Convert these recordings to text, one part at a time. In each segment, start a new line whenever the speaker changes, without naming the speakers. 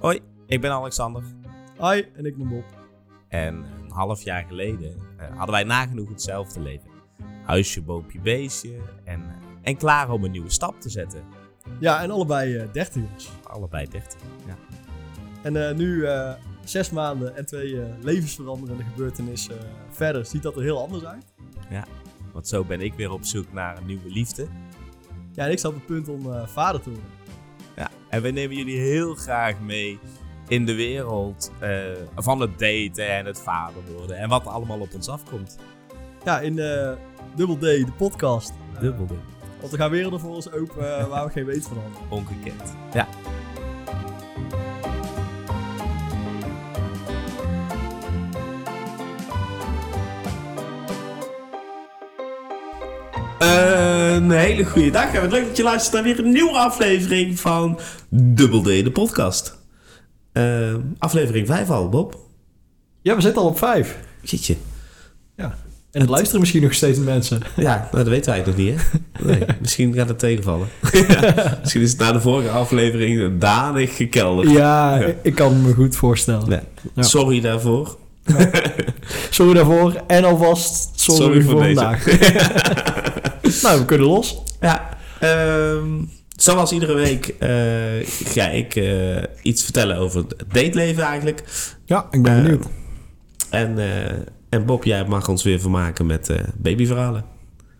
Hoi, ik ben Alexander.
Hi, en ik ben Bob.
En een half jaar geleden eh, hadden wij nagenoeg hetzelfde leven. Huisje, boompje, beestje en, en klaar om een nieuwe stap te zetten.
Ja, en allebei eh dertigers.
Allebei 30. Ja.
En eh, nu eh, zes maanden en twee eh, levensveranderende gebeurtenissen eh, verder ziet dat er heel anders uit.
Want zo ben ik weer op zoek naar een nieuwe liefde.
Ja, en ik sta op het punt om eh, vader te worden.
Ja. En we nemen jullie heel graag mee in de wereld eh, van het daten en het vader worden. En wat er allemaal op ons afkomt.
Ja, in eh Double D, de podcast. Eh,
Dubbel
Want er gaan werelden voor ons open eh, waar we geen weet van hadden.
Ongekend. Ja. Een hele goede dag en wat leuk dat je luistert naar weer een nieuwe aflevering van Double D, de podcast. Eh, aflevering 5 al, Bob.
Ja, we zitten al op vijf.
Zit je?
Ja. En het luisteren misschien nog steeds mensen.
Ja, nou, dat weten wij nog niet, hè? Nee, misschien gaat het tegenvallen. Ja, misschien is het na de vorige aflevering danig gekelderd.
Ja,
Ja.
ik kan me goed voorstellen.
Nee.
Ja.
Sorry daarvoor.
Sorry daarvoor en alvast sorry, voor,
deze.
vandaag. nou, we kunnen los.
Ja, ehm, zoals iedere week eh, ga ik eh, iets vertellen over het dateleven eigenlijk.
Ja, ik
ben benieuwd. En, eh, en Bob, jij mag ons weer vermaken met eh, babyverhalen.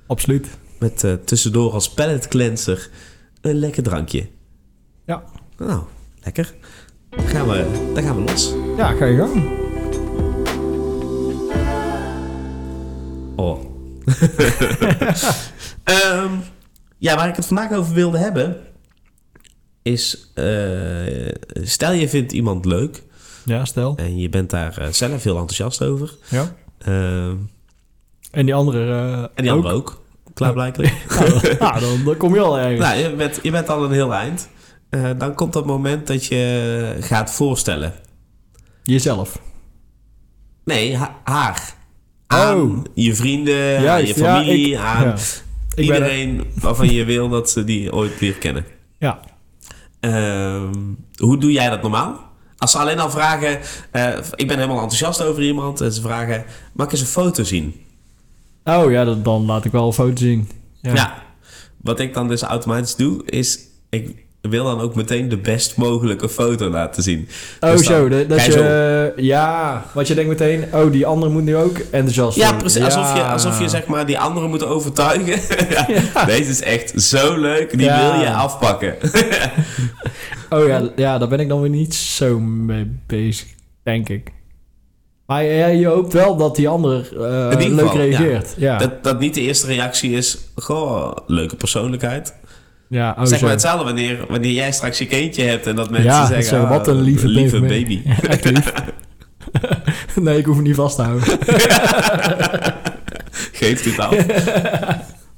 Absoluut.
Met eh, tussendoor als pallet cleanser een lekker drankje.
Ja.
Nou, lekker. Dan gaan we, dan gaan we los.
Ja, ga je gang.
Oh. Ehm, ja, waar ik het vandaag over wilde hebben... is... eh, stel je vindt iemand leuk...
Ja, stel.
En je bent daar eh, zelf heel enthousiast over.
Ja.
Eh,
En die andere eh,
en die
ook.
andere ook, klaarblijkelijk.
Ja, dan, dan kom je al ergens.
nou, je bent, je bent al een heel eind. Eh, dan komt dat moment dat je gaat voorstellen.
Jezelf.
Nee, ha- haar. Aan
Oh.
je vrienden, aan
Juist,
je familie,
ja, ik-
aan
ja. Ik ben er-
iedereen waarvan je wil dat ze die ooit weer kennen.
ja.
Ehm, hoe doe jij dat normaal? Als ze alleen al vragen, eh, ik ben helemaal enthousiast over iemand, en ze vragen, mag ik eens een foto zien?
Oh ja, dan, dan laat ik wel een foto zien. Ja.
Ja. Nou, Wat ik dan dus automatisch doe, is ik wil dan ook meteen de best mogelijke foto laten zien.
Oh
Dus dan
zo, dat, dat
ga
je... eh,
je zo-
Ja, want je denkt meteen... Oh, die andere moet nu ook enthousiast
Ja,
worden.
precies. Alsof, je, alsof je zeg maar die anderen moet overtuigen. Ja, Deze is echt zo leuk, die
Ja.
wil je afpakken.
Oh ja, ja, daar ben ik dan weer niet zo mee bezig, denk ik. Maar ja, je hoopt wel dat die ander eh,
In ieder
leuk
geval, ja.
reageert. Ja, ja.
Dat, dat niet de eerste reactie is, goh, leuke persoonlijkheid.
oh,
zeg
zo.
maar hetzelfde wanneer, wanneer jij straks je kindje hebt en dat mensen
Ja,
zeggen,
zeggen,
"Ah,
wat een lieve baby."
baby.
Echt lief. nee, ik hoef hem niet vast te houden.
Geeft dit af.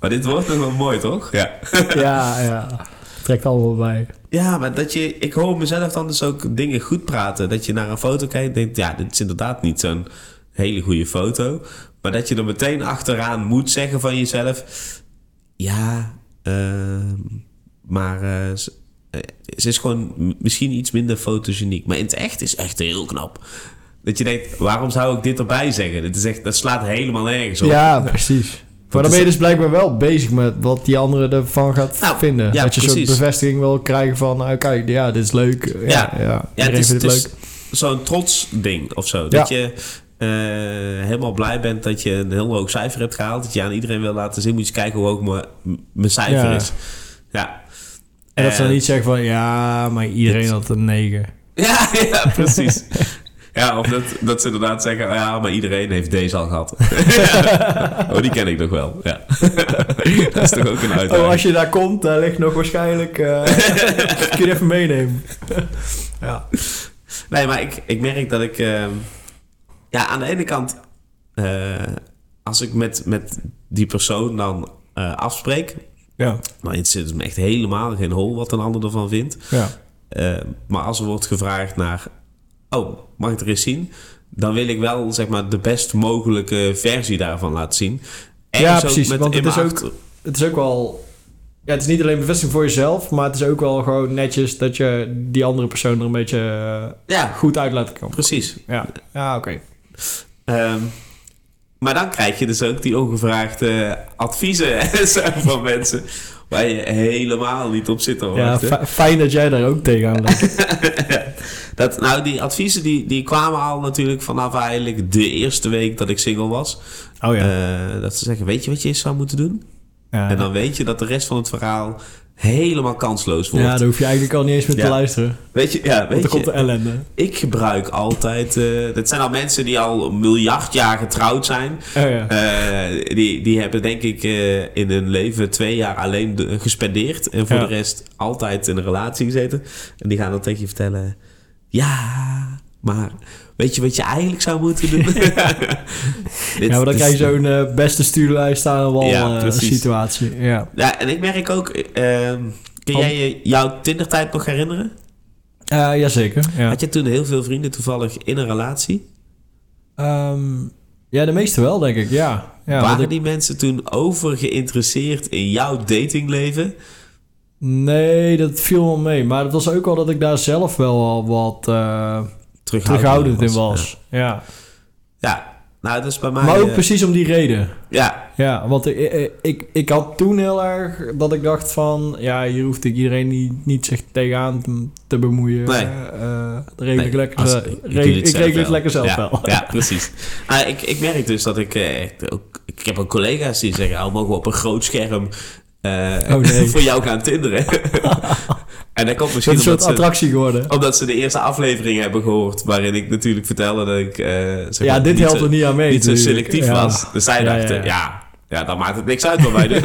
maar dit wordt nog wel mooi, toch? Ja.
ja, ja. Trekt allemaal bij.
Ja, maar dat je, ik hoor mezelf dan dus ook dingen goed praten. Dat je naar een foto kijkt en denkt, ja, dit is inderdaad niet zo'n hele goede foto. Maar dat je er meteen achteraan moet zeggen van jezelf, ja, ehm, maar eh, ze, eh, ze is gewoon m- misschien iets minder fotogeniek. Maar in het echt is echt heel knap. Dat je denkt, waarom zou ik dit erbij zeggen? Dit is echt, dat slaat helemaal nergens op.
Ja, precies. Maar dan ben je dus blijkbaar wel bezig met wat die andere ervan gaat
Nou,
vinden.
ja,
dat je een
precies.
soort bevestiging wil krijgen van... nou, kijk, ja, dit is leuk. Ja, ja.
Ja,
iedereen
het is,
vindt
het
het
is
leuk.
zo'n trots ding of zo. Dat
Ja.
je eh, helemaal blij bent dat je een heel hoog cijfer hebt gehaald. Dat je aan iedereen wil laten zien. Moet je eens kijken hoe hoog mijn- mijn cijfer
Ja.
is. Ja.
En dat ze dan
Eh,
niet zeggen van... ja, maar iedereen had een 9.
Ja, ja precies. ja, of dat, dat ze inderdaad zeggen... "Ah Ja, maar iedereen heeft deze al gehad. oh, die ken ik nog wel. Ja. dat is toch ook een uitdaging.
Oh, als je daar komt, daar ligt nog waarschijnlijk... eh kun je even meenemen. ja.
Nee, maar ik, ik merk dat ik... ehm, ja, aan de ene kant... eh, als ik met, met die persoon dan eh, afspreek...
Ja.
Maar het zit me echt helemaal geen hol wat een ander ervan vindt.
ja.
Eh, maar als er wordt gevraagd naar... Oh, mag ik er eens zien? Dan wil ik wel zeg maar, de best mogelijke versie daarvan laten zien. dus
Ja, precies, want het is ook- Het is ook wel Ja, het is niet alleen bevestiging voor jezelf, maar het is ook wel gewoon netjes dat je die andere persoon er een beetje eh,
Ja,
goed uit laat komen.
precies.
Ja, ja oké.
Ehm, maar dan krijg je dus ook die ongevraagde adviezen en zo van mensen waar je helemaal niet op zit te
Ja,
wachten.
fi- fijn dat jij daar ook tegenaan loopt.
dat, nou, die adviezen die, die kwamen al natuurlijk vanaf eigenlijk de eerste week dat ik single was.
Oh
Eh, dat ze zeggen, weet je wat je eens zou moeten doen?
ja.
En dan weet je dat de rest van het verhaal helemaal kansloos wordt.
ja, daar hoef je eigenlijk al niet eens meer te
Ja.
luisteren.
Weet je, ja,
Want
weet
er komt de
je
ellende.
ik gebruik altijd... eh dat zijn al mensen die al een miljard jaar getrouwd zijn.
Oh ja.
Eh, die, die hebben denk ik eh, in hun leven twee jaar alleen de- gespendeerd. En voor
Ja.
de rest altijd in een relatie gezeten. En die gaan dan tegen je vertellen... Ja, maar weet je wat je eigenlijk zou moeten doen? dus- Dit-
ja, maar dan
dit-
krijg je zo'n eh, beste stuurlijst aan de wal
Ja,
eh,
precies.
situatie. Ja.
Ja, en ik merk ook... eh, ehm, kun
Om-
jij je jouw Tinder-tijd nog herinneren?
Eh, jazeker. Ja.
Had je toen heel veel vrienden toevallig in een relatie?
Ehm, ja, de meeste wel, denk ik. Ja. ja want
Waren
ik-
die mensen toen over geïnteresseerd in jouw datingleven?
Nee, dat viel wel mee. Maar het was ook wel dat ik daar zelf wel al wat eh terughoudend in was. Ja.
Ja. Ja, nou dat is bij mij...
Maar ook
eh,
precies om die reden.
ja,
Ja, want ik, ik- ik, ik had toen heel erg dat ik dacht van... Ja, hier hoeft ik iedereen niet, niet zich tegenaan te, te bemoeien.
Nee.
Eh, eh, dat regel ik
Nee,
lekker
als-
zelf.
ik doe
Re-
dit
ik
zelf
regel het
wel.
lekker zelf
ja,
wel.
Ja, precies. Ah, ik, ik merk dus dat ik... eh, echt ook, ik heb ook collega's die zeggen... Oh, mogen we op een groot scherm eh,
Oh, nee.
voor jou gaan tinderen? en dat komt
Het is
misschien
een soort
omdat ze,
attractie geworden.
omdat ze de eerste aflevering hebben gehoord... waarin ik natuurlijk vertelde dat ik... eh, zeg
Ja,
maar,
dit
niet
helpt
zo-
er niet aan mee.
niet zo
natuurlijk.
selectief
Ja.
was. Dus zij
Ja, ja,
dachten, ja,
ja.
ja. dan maakt het niks uit wat wij doen.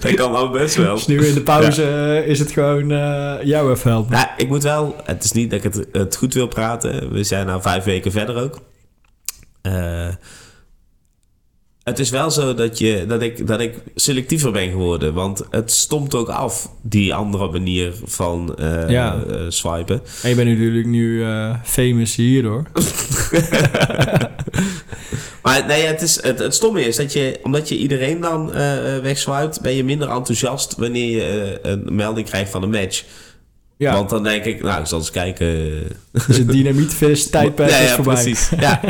dat kan wel best wel.
Dus nu in de pauze eh, is het gewoon eh, jou even helpen.
Nou, ik moet wel... Het is niet dat ik het, het goed wil praten. We zijn nou vijf weken verder ook. Eh, het is wel zo dat, je, dat, ik, dat ik selectiever ben geworden. Want het stomt ook af, die andere manier van eh,
Ja.
eh, swipen.
En je bent natuurlijk nu eh, famous hierdoor.
Maar nee, het, is, het, het stomme is dat je, omdat je iedereen dan eh eh, wegswipt, ben je minder enthousiast wanneer je eh, een melding krijgt van een match.
Ja,
Want dan denk ik, nou, ik zal eens kijken.
dus het dynamietvis tijdperk
ja,
is
ja,
voorbij.
precies. Ja.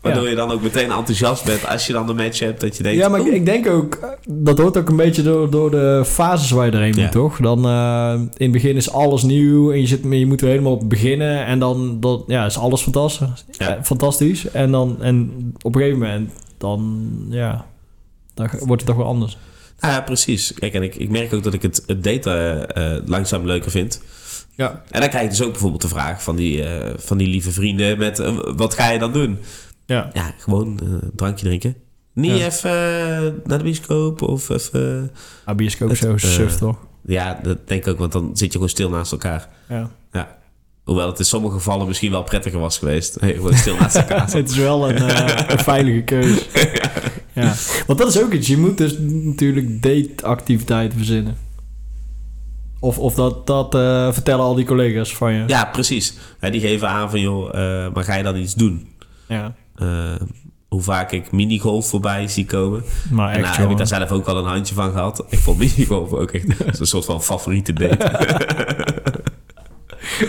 Waardoor je dan ook meteen enthousiast bent als je dan de match hebt, dat je denkt,
Ja, maar ik,
oeh,
ik denk ook, eh, dat hoort ook een beetje door, door de fases waar je erheen
Ja.
moet, toch? Dan eh, in het begin is alles nieuw en je, zit, je moet er helemaal beginnen en dan dat, ja, is alles fantastisch.
Ja.
Eh, fantastisch. En, dan, en op een gegeven moment, dan, ja, dan ge- wordt het toch wel anders.
nou ja, precies. Kijk, en ik, ik merk ook dat ik het, het data eh, langzaam leuker vind.
Ja.
En dan krijg je dus ook bijvoorbeeld de vraag van die, eh, van die lieve vrienden met, eh, wat ga je dan doen?
Ja.
Ja, gewoon eh, een drankje drinken. Niet
Ja.
even eh, naar de bioscoop of even...
Ah, bioscoop
Het,
zo
eh,
suf, toch?
Ja, dat denk ik ook, want dan zit je gewoon stil naast elkaar.
Ja.
Hoewel het in sommige gevallen misschien wel prettiger was geweest. Hey, gewoon stil naast elkaar.
Het is wel een, eh, een veilige keuze. Ja. Want dat is ook iets. Je moet dus natuurlijk dateactiviteiten verzinnen. Of, of dat, dat eh, vertellen al die collega's van je.
Ja, precies. Hè, die geven aan van, joh, eh, maar ga je dan iets doen?
Ja.
Eh, hoe vaak ik minigolf voorbij zie komen.
Maar
en
echt,
nou heb ik
jongen.
daar zelf ook al een handje van gehad. Ik vond minigolf ook echt dat is een soort van favoriete date.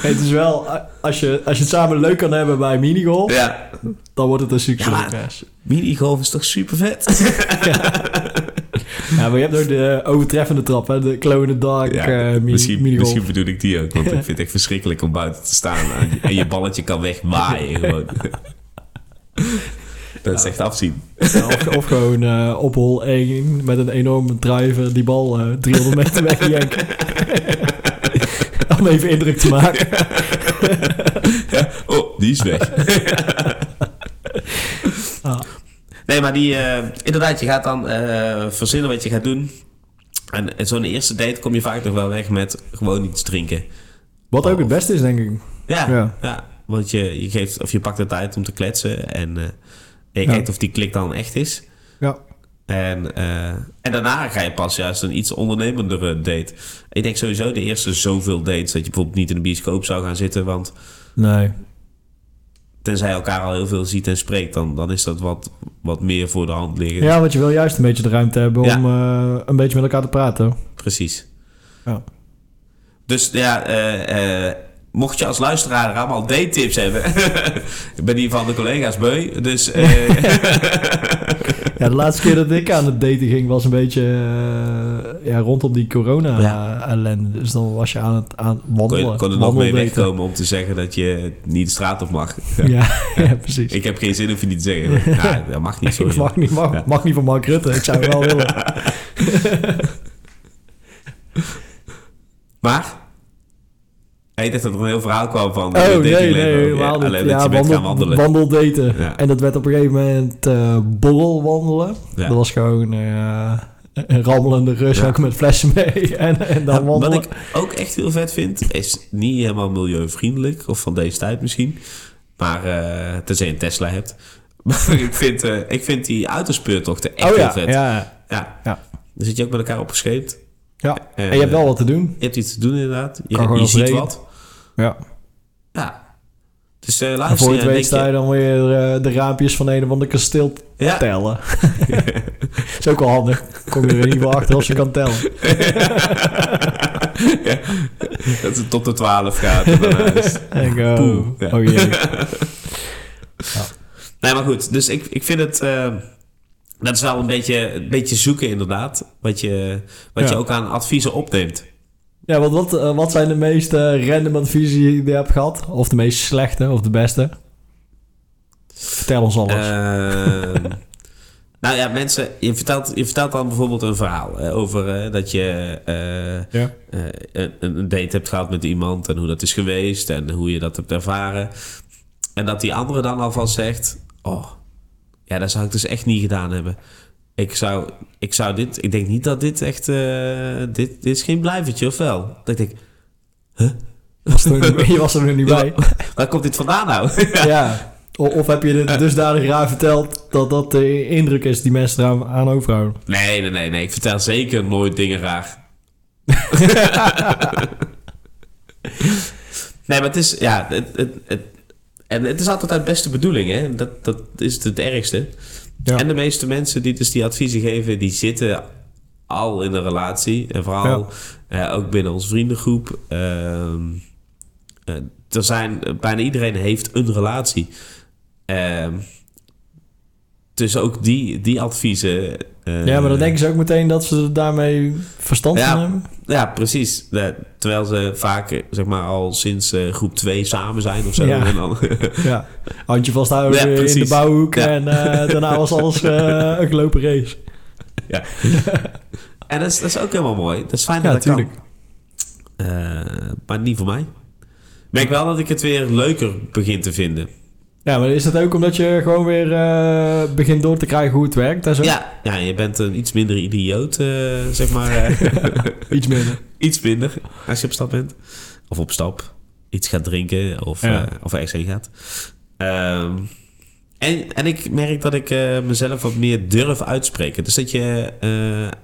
Het is wel... eh, Als je, als je het samen leuk kan hebben bij minigolf...
ja,
dan wordt het een
Ja, maar-
succes.
minigolf is toch super vet?
Ja, maar je hebt ook de eh, overtreffende trap, hè? De Glow in the Dark eh mini-
misschien,
minigolf.
misschien bedoel ik die ook, want ik vind het echt verschrikkelijk om buiten te staan en, en je balletje kan wegwaaien. Gewoon. Dat is echt afzien.
Ja, of, of gewoon eh, op hol 1 met een enorme driver die bal eh, 300 meter wegjenken. Om even indruk te maken.
Oh, die is weg.
Ah.
Nee, maar die, eh, inderdaad, je gaat dan eh, verzinnen wat je gaat doen. En, en zo'n eerste date kom je vaak nog wel weg met gewoon iets drinken.
Wat ook het beste is, denk ik.
Ja, ja.
Ja.
want je, je, geeft, of je pakt de tijd om te kletsen en eh, en je
Ja.
kijkt of die klik dan echt is.
Ja.
En, eh, en daarna ga je pas juist een iets ondernemendere date. Ik denk sowieso de eerste zoveel dates dat je bijvoorbeeld niet in de bioscoop zou gaan zitten, want
Nee.
Tenzij je elkaar al heel veel ziet en spreekt, dan, dan is dat wat, wat meer voor de hand liggen.
Ja, want je wil juist een beetje de ruimte hebben
Ja.
om eh, een beetje met elkaar te praten.
Precies.
Ja.
Dus ja, eh, eh, mocht je als luisteraar allemaal date-tips hebben, ik ben hier van de collega's beu, dus eh,
Ja, de laatste keer dat ik aan het daten ging was een beetje eh, ja, rondom die
Ja.
corona-ellende. Dus dan was je aan het aan
kon,
wandelen.
je- kon er nog mee
wandeldaten.
wegkomen om te zeggen dat je niet de straat op mag.
Ja, ja, precies.
Ik heb geen zin of je niet te zeggen. Ja, dat mag niet,
Ik
sorry.
mag niet, mag,
Ja.
mag niet van Mark Rutte. Ik zou het wel willen.
Maar? Hij dacht dat er een heel verhaal kwam van...
Oh,
eh,
nee, nee,
datingleven. Ja,
helemaal niet.
Alleen dat je bent
wandel-
gaan wandelen.
wandeldaten.
Ja.
En dat werd op een gegeven moment eh borrel wandelen.
Ja.
Dat was gewoon eh, een rammelende rus,
Ja.
ook met flessen mee. En, en dan
Ja, wat
wandelen.
ik ook echt heel vet vind, is niet helemaal milieuvriendelijk, of van deze tijd misschien. Maar eh tenzij je een Tesla hebt. Maar ik vind, eh, ik vind die autospeurtochten echt
oh
heel
ja,
vet.
ja.
Ja.
Ja.
Dan zit je ook met elkaar opgescheept.
ja.
Eh,
En je hebt wel wat te doen.
Je hebt iets te doen inderdaad. Je,
Kan gewoon
je
als
ziet
reden.
wat.
Ja.
Ja. Dus eh
En
luister
voor je
je
het
en
weet sta
denk
je dan weer eh, de raampjes van een of ander kasteel te
je- Ja.
tellen. is ook wel handig. Kom je er in ieder geval achter als je kan tellen.
Ja. Dat het tot de 12 gaat. en daarna is-
En ik, oh,
Poeh, ja.
oh jee.
Nee, maar goed. Dus ik, ik vind het... eh, dat is wel een beetje, een beetje zoeken inderdaad. Wat je, wat
Ja.
je ook aan adviezen opneemt.
Ja, want wat, eh, wat zijn de meest eh, random adviezen die je hebt gehad? Of de meest slechte, of de beste? Vertel ons alles.
Ehm, nou ja, mensen... Je vertelt, je vertelt dan bijvoorbeeld een verhaal. eh, over eh, dat je... eh,
ja.
eh, een, een date hebt gehad met iemand en hoe dat is geweest en hoe je dat hebt ervaren. En dat die andere dan alvast zegt: Oh, ja, dat zou ik dus echt niet gedaan hebben. Ik zou, ik zou dit, ik denk niet dat dit echt, eh, dit, dit is geen blijvertje of wel? Dat ik denk,
Was er niet- je was er nog niet
Ja.
bij.
waar komt dit vandaan nou?
Ja. Eh. O- Of heb je het dusdanig raar verteld dat dat de indruk is die mensen eraan aan overhouden?
nee, nee, nee, nee, ik vertel zeker nooit dingen raar. nee, maar het is, ja, het, het, het, en het is altijd uit beste bedoeling, hè? Dat, dat is het ergste.
Ja.
En de meeste mensen die dus die adviezen geven, die zitten al in een relatie. En vooral eh, ook binnen onze vriendengroep. Ehm, eh, er zijn, bijna iedereen heeft een relatie. Ehm, dus ook die, die adviezen... eh,
ja, maar dan denken ze ook meteen dat ze er daarmee verstand
Ja.
van hebben.
Ja, precies. Ja, terwijl ze vaak eh, zeg maar, al sinds eh, groep 2 samen zijn of zo.
Ja.
En dan,
Ja. Handje vasthouden
Ja,
in de
precies.
bouwhoek
Ja.
en eh, daarna was alles eh, een gelopen race.
en dat is, dat is ook helemaal mooi. Dat is fijn
Ja,
dat dat kan.
natuurlijk.
Eh, maar niet voor mij. Ik merk wel dat ik het weer leuker begin te vinden.
Ja, maar is dat ook omdat je gewoon weer eh, begint door te krijgen hoe het werkt en zo?
Ja, ja je bent een iets minder idioot, eh, zeg maar. eh.
Iets minder.
iets minder als je op stap bent. Of op stap. Iets gaat drinken of,
Ja.
eh, of ergens heen gaat. Ehm, en, en ik merk dat ik eh, mezelf wat meer durf uitspreken. Dus dat je eh,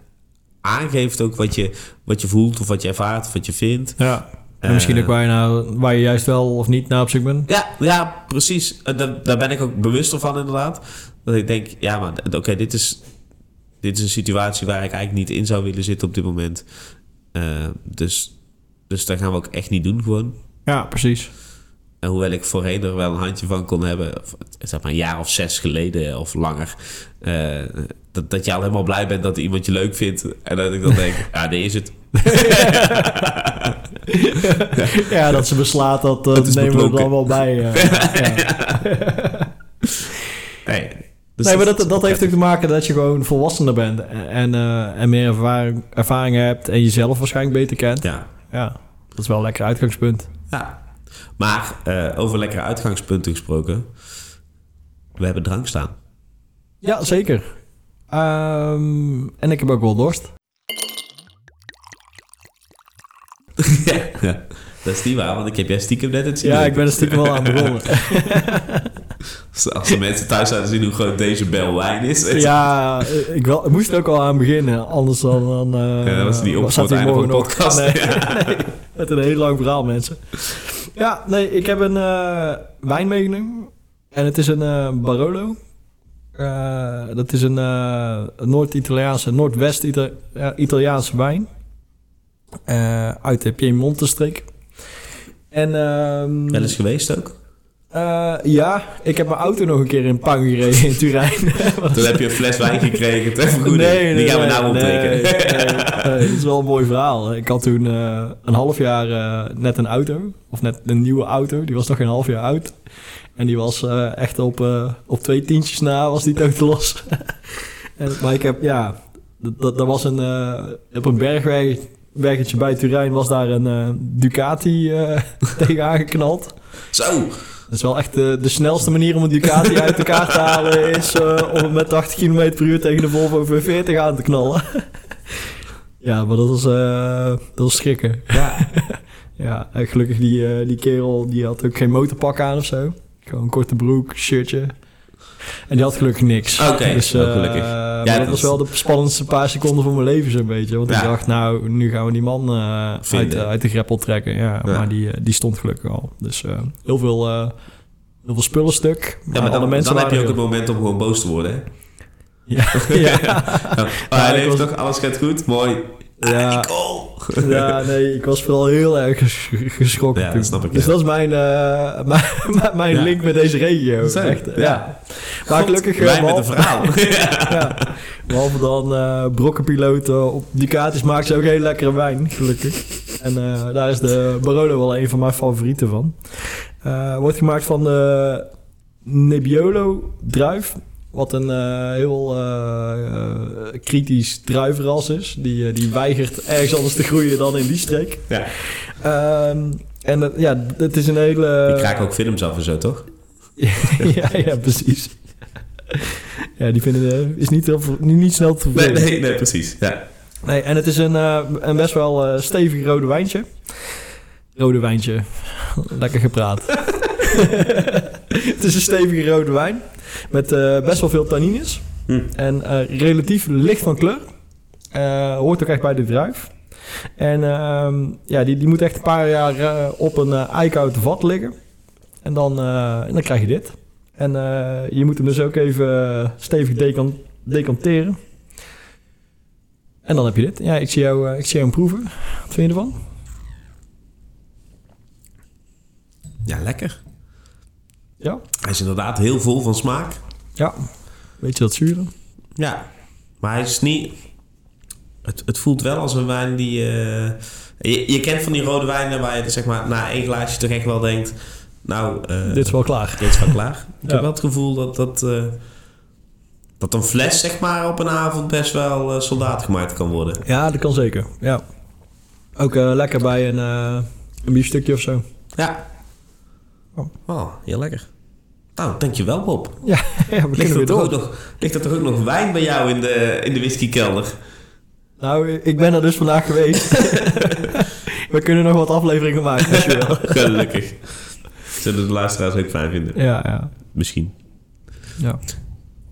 aangeeft ook wat je, wat je voelt of wat je ervaart of wat je vindt.
Ja. En misschien ook waar je, nou, waar je juist wel of niet naar op zoek bent.
Ja, ja precies. En daar, daar ben ik ook bewuster van, inderdaad. Dat ik denk, ja, maar d- oké, dit, is, dit is een situatie waar ik eigenlijk niet in zou willen zitten op dit moment. Eh, dus, dus dat gaan we ook echt niet doen, gewoon.
Ja, precies.
En Eh, hoewel ik voorheen er wel een handje van kon hebben, of, zeg maar een jaar of zes geleden of langer, eh, dat, dat je al helemaal blij bent dat iemand je leuk vindt. En dat ik dan denk, ja, dit is het.
Ja, dat ze beslaat, dat, eh,
Het is
nemen we
beklonken.
dan wel bij. eh. ja.
Nee, dus
nee, maar dat, dat heeft ook te maken dat je gewoon volwassener bent. En, en, eh, en meer ervaring, ervaringen hebt en jezelf waarschijnlijk beter kent.
Ja,
Ja, dat is wel een lekker uitgangspunt.
Ja. Maar eh, over lekkere uitgangspunten gesproken. We hebben drank staan.
Ja, zeker. Ehm, en ik heb ook wel dorst.
ja. Dat is niet waar, want ik heb jij stiekem net het zien.
Ja,
lopen.
ik ben er stiekem wel aan begonnen.
Als de mensen thuis zouden zien hoe groot deze bel wijn is. weet je.
Ja, eh, ik, wel, ik moest er ook al aan beginnen. Anders dan... dan eh,
Ja, dat was niet op
zat
voor het einde
hij
van de
morgen nog-
podcast.
Nee, nee, het is een heel lang verhaal, mensen. Ja, nee, ik heb een eh, wijn meegenomen. En het is een eh, Barolo. Eh, dat is een eh, een Noord-Italiaanse, Noordwest-Italiaanse wijn. Eh, uit de Piemonte-streek. En, ehm,
Wel eens geweest ook?
eh, ja, ik heb mijn auto nog een keer in puin gereden in Turijn. Want-
Toen heb je een fles wijn gekregen, ter vergoeding.
Nee, nee,
Die gaan we
nee,
nou
nee,
opdrinken.
nee, nee. Eh, Dat is wel een mooi verhaal. Ik had toen eh, een half jaar eh, net een auto. Of net een nieuwe auto. Die was nog geen half jaar oud. En die was eh, echt op, eh, op twee tientjes na was die te los. en, maar ik heb, ja... Dat, dat, dat was een... eh, op een bergweg weggetje bij Turijn was daar een eh, Ducati eh tegen aangeknald.
Zo, nou,
Dat is wel echt eh, de, de snelste manier om een Ducati uit elkaar te halen... is eh, om hem met 80 km per uur tegen de Volvo V40 aan te knallen. ja, maar dat was, eh, dat was schrikken. Ja, ja en gelukkig die, eh, die kerel die had ook geen motorpak aan of zo. Gewoon een korte broek, shirtje. En die had gelukkig niks.
Oké,
eh,
oh, gelukkig. Ja,
maar dat
dat
was
is-
wel de spannendste paar seconden van mijn leven zo'n beetje. Want ik
Ja.
dacht, nou, nu gaan we die man eh, uit,
Vinden.
de- uit de greppel trekken. Ja,
Ja.
maar die, eh, die stond gelukkig al. Dus eh, heel, veel, eh, heel veel spullen stuk. Maar,
ja, maar
alle
dan,
mensen
dan heb je ook
waren
het moment om gewoon boos te worden. Hè?
heel- ja,
Ja. Oh,
Ja, ik
hij leeft
was-
nog, alles gaat goed, mooi.
Ja.
Ah, Nicole.
ja, nee, ik was vooral heel erg ges- geschrokken
Ja, dat
toen.
snap ik,
dus
ja.
dat is mijn, eh, mijn, mijn
Ja.
link met deze regio.
Zo,
echt, ja.
ja.
Maar
God,
gelukkig... eh,
Wij met een
behalve-
verhaal.
ja. Behalve dan eh brokkenpiloten op Ducatis maken ze ook heel lekkere wijn, gelukkig. En eh, daar is de Barolo wel een van mijn favorieten van. Eh, wordt gemaakt van de Nebbiolo druif. Wat een eh, heel eh, eh, kritisch druivenras is. Die, eh, die weigert ergens anders te groeien dan in die streek.
Ja.
Ehm, en dat- ja, het is een hele...
Ik raak ook films af en zo, toch?
ja, ja, precies. Ja, die vinden eh, is niet, heel, ver- niet, niet snel te
Nee,
vervelen.
nee, nee precies. Ja.
Nee, en het is een, eh, een best wel eh, stevig rode wijntje. Rode wijntje. Lekker gepraat. het is een stevige rode wijn. Met eh, best wel veel tannines.
Hm.
En eh, relatief licht van kleur. Eh, hoort ook echt bij de druif. En ehm, ja, die, die moet echt een paar jaar eh, op een eh, eikhouten vat liggen. En dan, eh, en dan krijg je dit. En eh, je moet hem dus ook even eh, stevig decan- decanteren. En dan heb je dit. Ja, ik zie jou, eh, ik zie jou hem proeven. Wat vind je ervan?
ja, lekker.
Ja.
Hij is inderdaad heel vol van smaak.
Ja. Weet je dat zure?
Ja, maar hij is niet. Het, het voelt wel als een wijn die. eh, je, je kent van die rode wijnen waar je zeg maar, na één glaasje toch echt wel denkt. Nou, eh,
Dit is wel klaar.
dit is wel klaar. Ik
Ja.
heb wel het gevoel dat dat, eh, dat een fles zeg maar, op een avond best wel eh, soldaat gemaakt kan worden.
Ja, dat kan zeker. Ja. Ook eh, lekker bij een, eh, een biefstukje of zo.
Ja.
Oh.
Oh, heel lekker. Nou, dankjewel Bob.
Ja, ja we
Ligt
kunnen
er,
weer
toch ook
door.
nog, ligt er toch ook nog wijn bij jou in de, in de whiskykelder?
Nou, ik ben er dus vandaag geweest. we kunnen nog wat afleveringen maken als je wil.
Gelukkig. Zullen de luisteraars ook fijn vinden?
Ja, ja.
Misschien.
ja.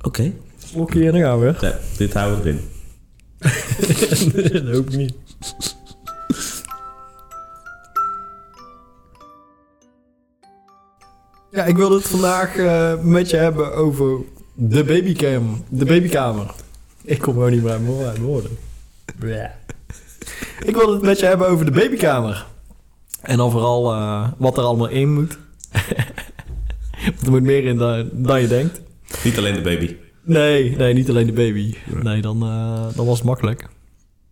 Oké.
Oké, en dan gaan we.
Ja, dit houden we erin.
dat hoop ik niet. Ja, ik wilde het vandaag eh, met je hebben over de babycam. De babykamer. Ik kom gewoon niet meer aan mijn wo- uit mijn woorden. Bleh. Ik wilde het met je hebben over de babykamer. En dan vooral eh, wat er allemaal in moet. Want er moet meer in dan, dan je denkt.
Niet alleen de baby.
Nee, nee, niet alleen de baby.
Nee.
Nee, dan, eh, dan was het makkelijk.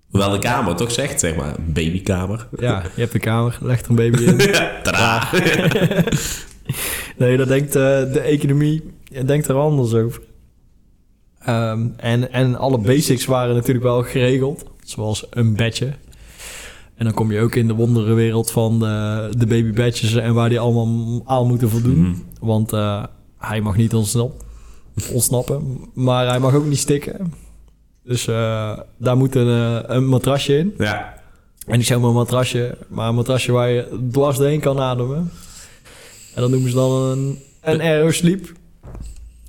Hoewel de kamer toch zegt, zeg maar, een babykamer.
Ja, je hebt een kamer, leg er een baby in.
Tadaa.
nee, daar denkt eh, de economie eh, denkt er anders over. Ehm, en, en alle basics waren natuurlijk wel geregeld, zoals een bedje. En dan kom je ook in de wonderenwereld van de, de babybedjes en waar die allemaal aan moeten voldoen.
Mhm.
Want eh, hij mag niet ontsnap- ontsnappen, maar hij mag ook niet stikken. Dus eh, daar moet een, eh, een matrasje in.
Ja.
En ik zeg maar een matrasje, maar een matrasje waar je dwars doorheen kan ademen. En dat noemen ze dan een, een aerosleep.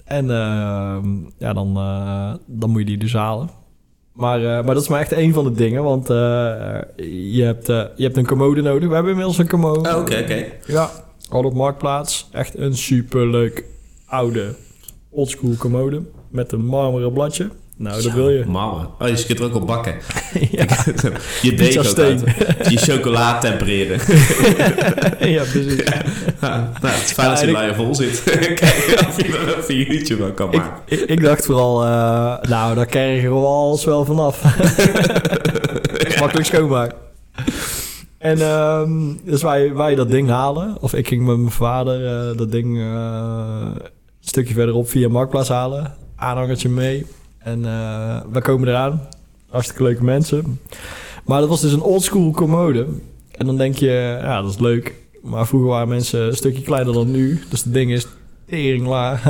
En eh, ja, dan, eh, dan moet je die dus halen. Maar, eh, maar dat is maar echt één van de dingen, want eh, je, hebt, eh, je hebt een commode nodig. We hebben inmiddels een commode.
Oh, Oké, oké.
Ja, al op Marktplaats. Echt een superleuk oude oldschool commode met een marmeren bladje. Nou, dat wil je.
Mama. Oh, dus je kunt er ook op bakken.
ja,
Je deed
Pizza
ook
steen.
uit. Je chocola tempereren.
ja, precies.
nou, het is fijn als je
Ja, en ik-
laaier vol zit. Kijk of je dat even YouTube wel kan maken.
Ik, ik dacht vooral, eh, nou, daar krijgen we alles wel vanaf. Makkelijk schoonmaak. En ehm, dus wij, wij dat ding halen. Of ik ging met mijn vader eh, dat ding eh, een stukje verderop via Marktplaats halen. Aanhangertje mee. En eh we komen eraan. Hartstikke leuke mensen. Maar dat was dus een oldschool commode. En dan denk je, ja, dat is leuk. Maar vroeger waren mensen een stukje kleiner dan nu. Dus het ding is tering laag.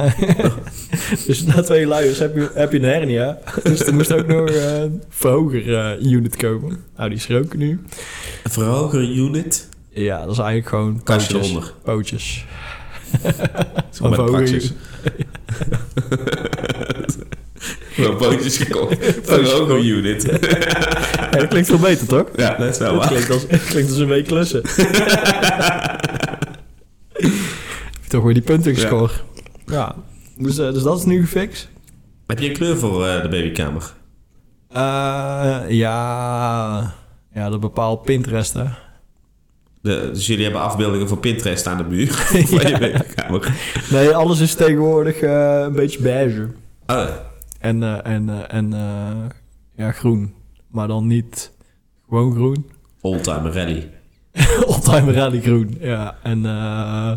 dus na twee luiers heb je, heb je een hernia. Dus er moest ook nog eh, een verhoger eh, unit komen. Nou, die is er ook nu.
Een verhoger unit.
Ja, dat is eigenlijk gewoon
Kastje
pootjes.
eronder.
Pootjes.
Zo met
Een verhoger
praxis. Gewoon bootjes gekocht. Verhoger unit.
Ja, dat klinkt veel beter, toch?
Ja, dat is wel
Dat
waar.
klinkt als, klinkt als een week klussen. Heb je toch weer die punten gescoord. Ja. Dus, eh, dus dat is nu gefixt.
Heb je een kleur voor eh, de babykamer?
Eh, ja. ja, dat bepaalt Pinterest, hè?
De, dus jullie hebben afbeeldingen van Pinterest aan de muur van je babykamer.
Nee, alles is tegenwoordig eh, een beetje beige.
Oh,
En, eh, en, eh, en eh, ja, groen. Maar dan niet gewoon groen.
oldtimer rally.
Oldtimer rally groen, ja. En eh,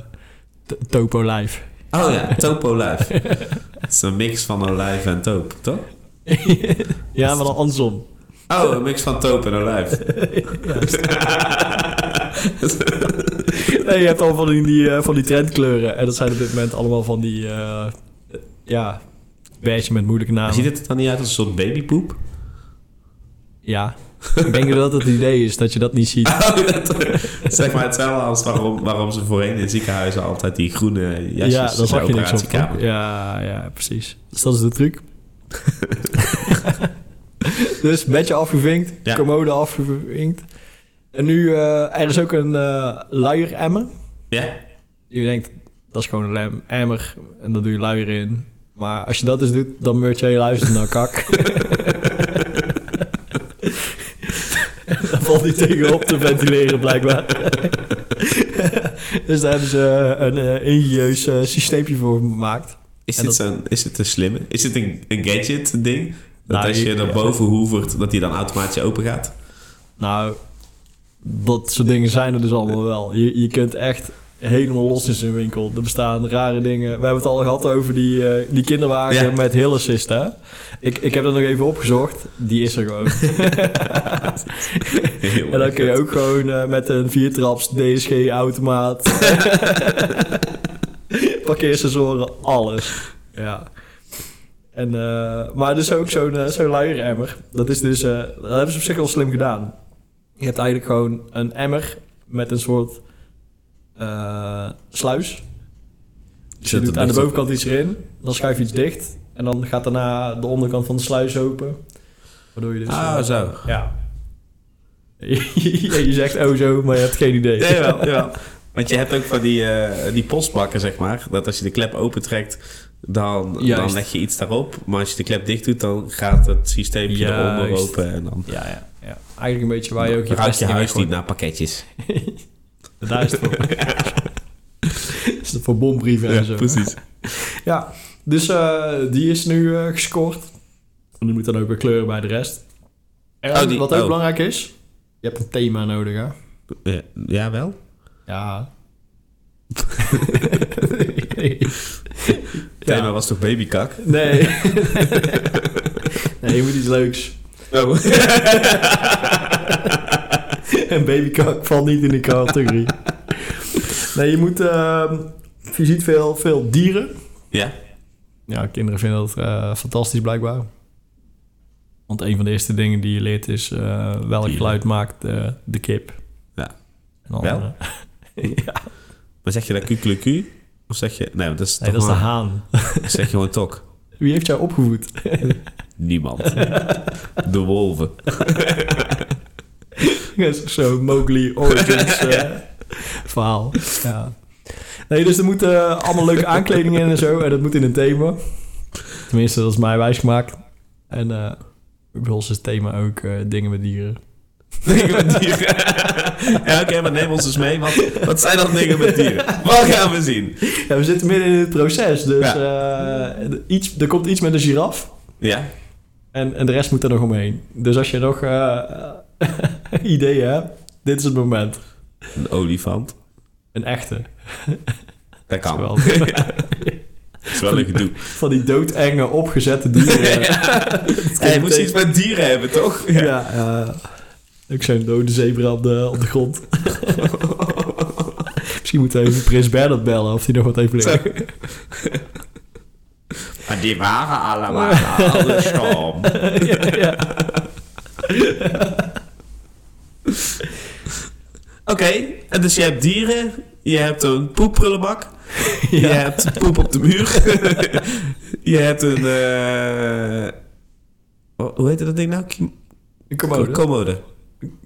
t- topo live.
Oh ja, topo live. Het is een mix van olijf en toop, toch?
ja, maar dan andersom.
Oh, een mix van toop en olijf.
Nee, je hebt al van die, die, eh, van die trendkleuren. En dat zijn op dit moment allemaal van die... eh, ja, beige met moeilijke namen.
Ziet het er dan niet uit als een soort babypoep?
Ja. Ik denk dat het idee is dat je dat niet ziet.
zeg maar hetzelfde als waarom, waarom ze voorheen in ziekenhuizen altijd die groene jasjes
ja, daar zag
bij
je niks op.
operatiekamer.
toch? Ja, ja, precies. Dus dat is de truc. dus bedje afgevinkt,
Ja.
commode afgevinkt. En nu, eh, er is ook een eh luieremmer.
Ja,
Je denkt, dat is gewoon een lem- emmer en daar doe je luier in. Maar als je dat dus doet, dan meurt je hele huis naar kak. dat valt niet tegen op te ventileren, blijkbaar. dus daar hebben ze eh, een eh, ingenieus eh, systeempje voor gemaakt.
Is
En
dit,
dat-
zo'n, is dit een slimme? Is dit een, een gadget ding? Dat
Nou,
als je
je-
naar boven hoevert, dat die dan automatisch open gaat?
Nou, dat soort dingen zijn er dus allemaal wel. Je, je kunt echt helemaal los in zijn winkel. Er bestaan rare dingen. We hebben het al gehad over die, eh, die kinderwagen
Ja.
met Hill Assist, hè? Ik, ik heb dat nog even opgezocht. Die is er gewoon.
Heel
en dan
erg
kun je
vet.
ook gewoon eh, met een viertraps DSG-automaat... parkeersensoren, alles. Ja. En, eh, maar er is ook zo'n eh, zo'n luieremmer. Dat is dus... eh, dat hebben ze op zich wel slim gedaan. Je hebt eigenlijk gewoon een emmer met een soort eh, sluis. Dus je
Zet
doet
het
aan de
dicht op.
bovenkant iets erin, dan schuif je iets dicht... en dan gaat daarna de onderkant van de sluis open. Waardoor je dus... eh,
Ah, zo.
ja. je zegt oh zo, maar je hebt geen idee.
Ja, jawel, jawel. Want je hebt ook van die, eh, die postbakken, zeg maar. Dat als je de klep opentrekt, dan, dan
Juist.
leg je iets daarop. Maar als je de klep dicht doet, dan gaat het systeempje eronder
Juist.
open. En dan
ja, ja, ja. Eigenlijk een beetje waar je ook je
ruikt je
vesting in
huis niet
gooit.
naar pakketjes.
Daar is het voor. is het voor bombrieven en zo.
precies.
Ja, dus eh, die is nu eh, gescoord. En die moet dan ook weer kleuren bij de rest. En
Oh, die-
wat ook
oh.
belangrijk is, je hebt een thema nodig hè.
Ja, jawel.
Ja.
Het thema was toch babykak?
Nee. nee, je moet iets leuks.
Oh.
En babykak valt niet in die categorie. nee, je moet... ehm, je ziet veel, veel dieren.
ja.
Ja, kinderen vinden dat eh, fantastisch blijkbaar. Want een van de eerste dingen die je leert is... eh, welk
Dieren.
geluid maakt eh, de kip.
Ja.
En dan,
Wel?
eh, ja,
Maar zeg je dan kukulekuu? Of zeg je... Nee, want dat is,
nee,
toch
dat is de
maar-
haan.
zeg je gewoon tok.
Wie heeft jou opgevoed?
Niemand. De wolven.
Dat is Zo'n Mowgli Origins eh, verhaal. Ja. Nee, dus er moeten eh, allemaal leuke aankleding in en zo. En dat moet in een thema. Tenminste, dat is mij wijsgemaakt. En eh bij ons is het thema ook eh, dingen met dieren.
Dingen met dieren. ja, oké, maar neem ons eens mee. Wat, wat zijn dat dingen met dieren? Wat gaan we zien?
Ja, we zitten midden in het proces. Dus eh, iets, er komt iets met een giraf.
Ja,
En, en de rest moet er nog omheen. Dus als je nog eh, ideeën hebt, dit is het moment.
een olifant.
Een echte.
Dat kan.
Wel.
Dat is wel een gedoe.
Van die doodenge, opgezette dieren.
Hey, je moest iets met dieren hebben, toch?
Ja, eh, ik zo'n dode zebra op de, op de grond. Misschien moeten we even Prins Bernhard bellen of hij nog wat heeft liggen.
Maar die waren allemaal aan de storm.
ja, ja.
Oké, en dus je hebt dieren, je hebt een poepprullenbak, je hebt poep op de muur, je hebt een... eh, ho- hoe heette dat ding nou? Kim-
Een commode.
Commode.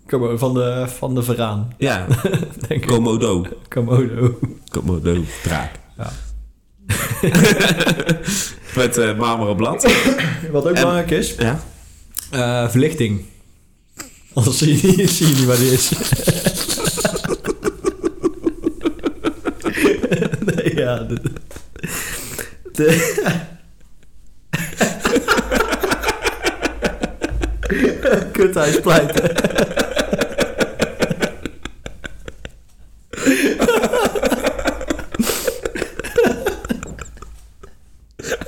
Commode Van de, van de veraan,
Ja,
denk ik.
Komodo.
Komodo.
Komodo, draak.
Ja.
Met eh marmeren blad.
Wat ook belangrijk is,
Ja.
eh, verlichting. Anders zie je, niet- zie je niet waar die is. nee, ja. dit- de- Kut, hij is pleiten.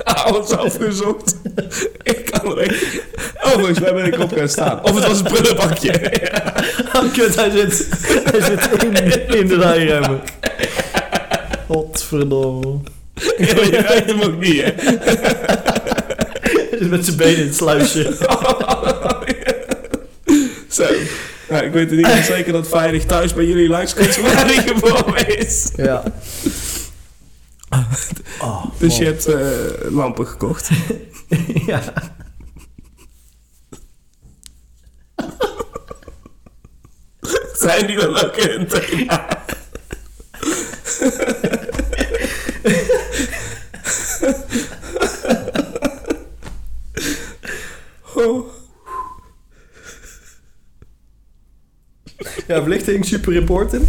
Alles afgezocht. Oh, Ik kan er echt... Oh, volgens mij ben ik op gaan staan. Of het was een prullenbakje.
Oh, kut, hij zit, hij zit in, in de rijremmen. Godverdomme.
Ja, maar je rijdt hem ook niet, hè?
Hij zit met zijn benen in het sluisje.
Zo. Nou, ik weet het niet zeker dat veilig thuis bij jullie langskomt waar die geboren is.
Ja. Oh,
Dus
man.
je hebt eh, lampen gekocht.
Ja.
Zijn die dan ook in het thema? Oh.
Ja, verlichting super important.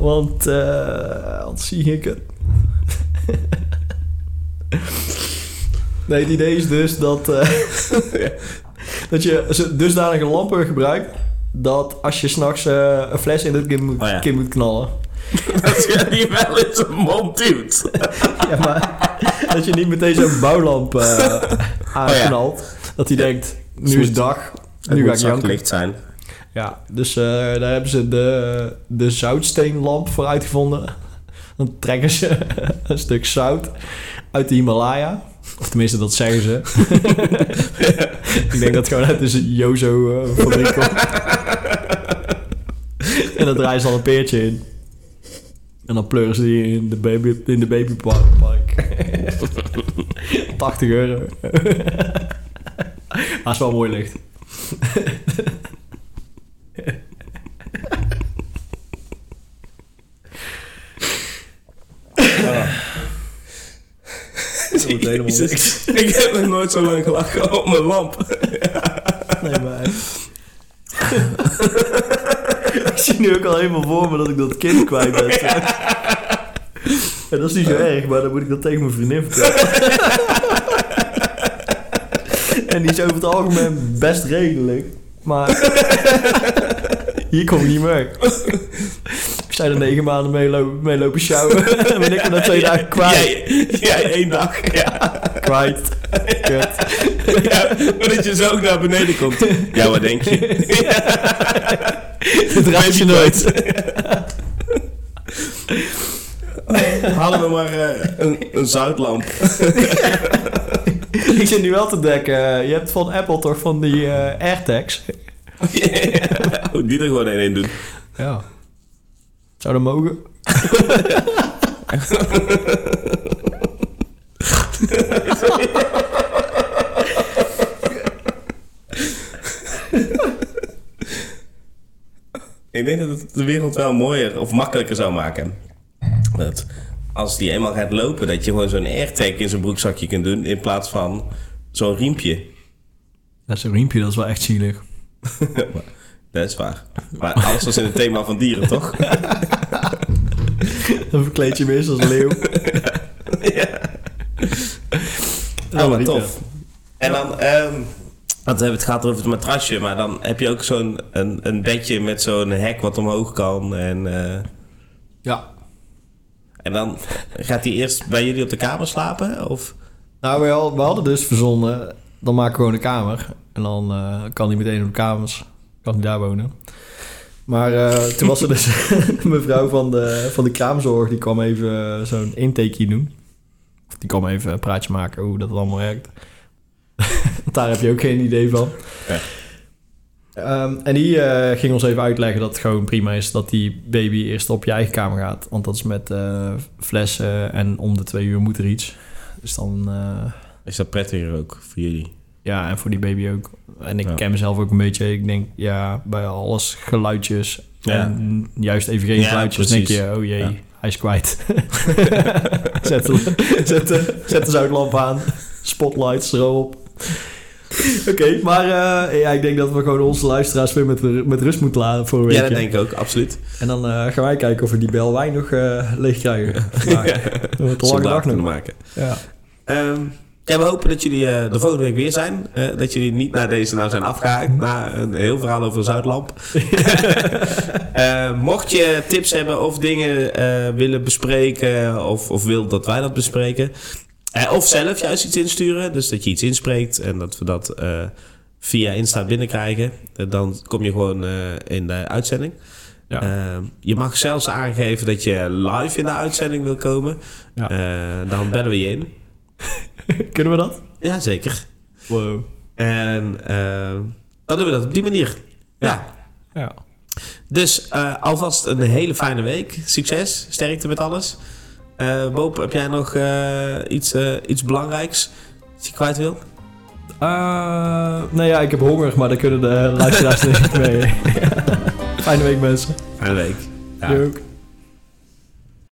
Want eh anders zie ik het. Nee, het idee is dus dat, eh, dat je zo- dusdanig een lampen gebruikt dat als je s'nachts eh een fles in het kind moet,
Oh ja.
kind moet knallen.
Als je die wel in zijn mond duwt.
Ja, maar dat je niet meteen zo'n bouwlamp
Oh
eh, aanknalt. Dat hij denkt, nu is
moet-
dag, nu ga ik janken.
licht zijn.
Ja, dus eh, daar hebben ze de, de zoutsteenlamp voor uitgevonden. Dan trekken ze een stuk zout uit de Himalaya. Of tenminste, dat zeggen ze. Ik denk dat het gewoon uit de Jozo-fabriek komt. en dan draaien ze al een peertje in. En dan pleuren ze die in de, baby, in de babypark. 80 euro. maar is wel mooi licht. Dat wordt helemaal
Jezus.
niks.
Ik heb nog nooit zo lang gelachen op mijn lamp.
Nee, maar... ik zie nu ook al helemaal voor me dat ik dat kind kwijt ben. En dat is niet zo erg, maar dan moet ik dat tegen mijn vriendin vertellen. en die is over het algemeen best redelijk. Maar hier kom ik niet meer. Ik zei er negen maanden mee lopen, mee lopen sjouwen. En ben ik er na twee dagen kwijt.
Jij, jij één dag. Ja.
Kwijt. Kut.
ja. Maar dat je zo ook naar beneden komt. Ja, wat denk je?
Dit raad je nooit.
Halen we maar eh, een, een zoutlamp.
Ik zit nu wel te denken. eh, Je hebt van Apple toch van die eh, AirTags?
Oh, die er gewoon één in doen.
Ja. Zou dat mogen?
Ik denk dat het de wereld wel mooier of makkelijker zou maken. Dat als die eenmaal gaat lopen, dat je gewoon zo'n airtag in zijn broekzakje kunt doen in plaats van zo'n riempje.
Dat is een riempje, dat is wel echt zielig.
Dat is waar. Maar alles was in het thema van dieren, toch?
Dan verkleed je hem eerst als een leeuw.
Oh, maar
Rico.
tof. En dan, ehm want we hebben het gehad over het matrasje, maar dan heb je ook zo'n een, een bedje met zo'n hek wat omhoog kan. En, eh,
Ja.
en dan gaat hij eerst bij jullie op de kamer slapen? Of?
Nou, we, al- we hadden dus verzonnen, dan maken we gewoon een kamer. En dan eh, kan hij meteen op de kamers, kan hij daar wonen. Maar eh, toen was er dus een mevrouw van de, van de kraamzorg, die kwam even eh, zo'n intakeje doen. Of die kwam even een praatje maken hoe dat allemaal werkt. Want daar heb je ook geen idee van.
Nee.
Ehm, en die eh, ging ons even uitleggen dat het gewoon prima is dat die baby eerst op je eigen kamer gaat. Want dat is met eh, flessen en om de twee uur moet er iets. Dus dan... eh,
Is dat prettiger ook voor jullie?
ja, en voor die baby ook. En ik
Ja.
ken mezelf ook een beetje. Ik denk, ja, bij alles geluidjes.
Ja.
En juist even geen
Ja,
geluidjes.
precies.
denk je, oh jee,
Ja.
hij is kwijt. zet, de, zet, de, zet de zuidlamp aan. Spotlights erop. Oké, maar eh, ja, ik denk dat we gewoon onze luisteraars weer met, met rust moeten laten voor een
Ja,
weekje.
dat denk ik ook, absoluut.
En dan eh, gaan wij kijken of we die bel wijn nog eh, leeg krijgen. vandaag. Dat wordt een lange
Soldaat
dag
kunnen
nog.
maken.
Ja.
Ehm, ja, we hopen dat jullie eh, de volgende week weer zijn. Eh, dat jullie niet naar deze nou zijn afgehaakt. Na een heel verhaal over Zuidlamp. Eh, mocht je tips hebben of dingen eh, willen bespreken. Of, of wil dat wij dat bespreken. eh, of zelf juist iets insturen. Dus dat je iets inspreekt. En dat we dat eh, via Insta binnenkrijgen. Eh, dan kom je gewoon eh, in de uitzending.
Ja.
Eh, je mag zelfs aangeven dat je live in de uitzending wil komen.
Ja.
Eh, dan bellen we je in.
Kunnen we dat?
Jazeker.
Wow.
En eh, dan doen we dat op die manier. Ja.
Ja.
Dus eh, alvast een hele fijne week. Succes, sterkte met alles. Eh Boop, heb jij nog eh, iets, eh, iets belangrijks dat je kwijt wil?
Eh, nou ja, ik heb honger, maar daar kunnen de luisteraars niet mee. Fijne week mensen.
Fijne week. Ja.
Jullie ook.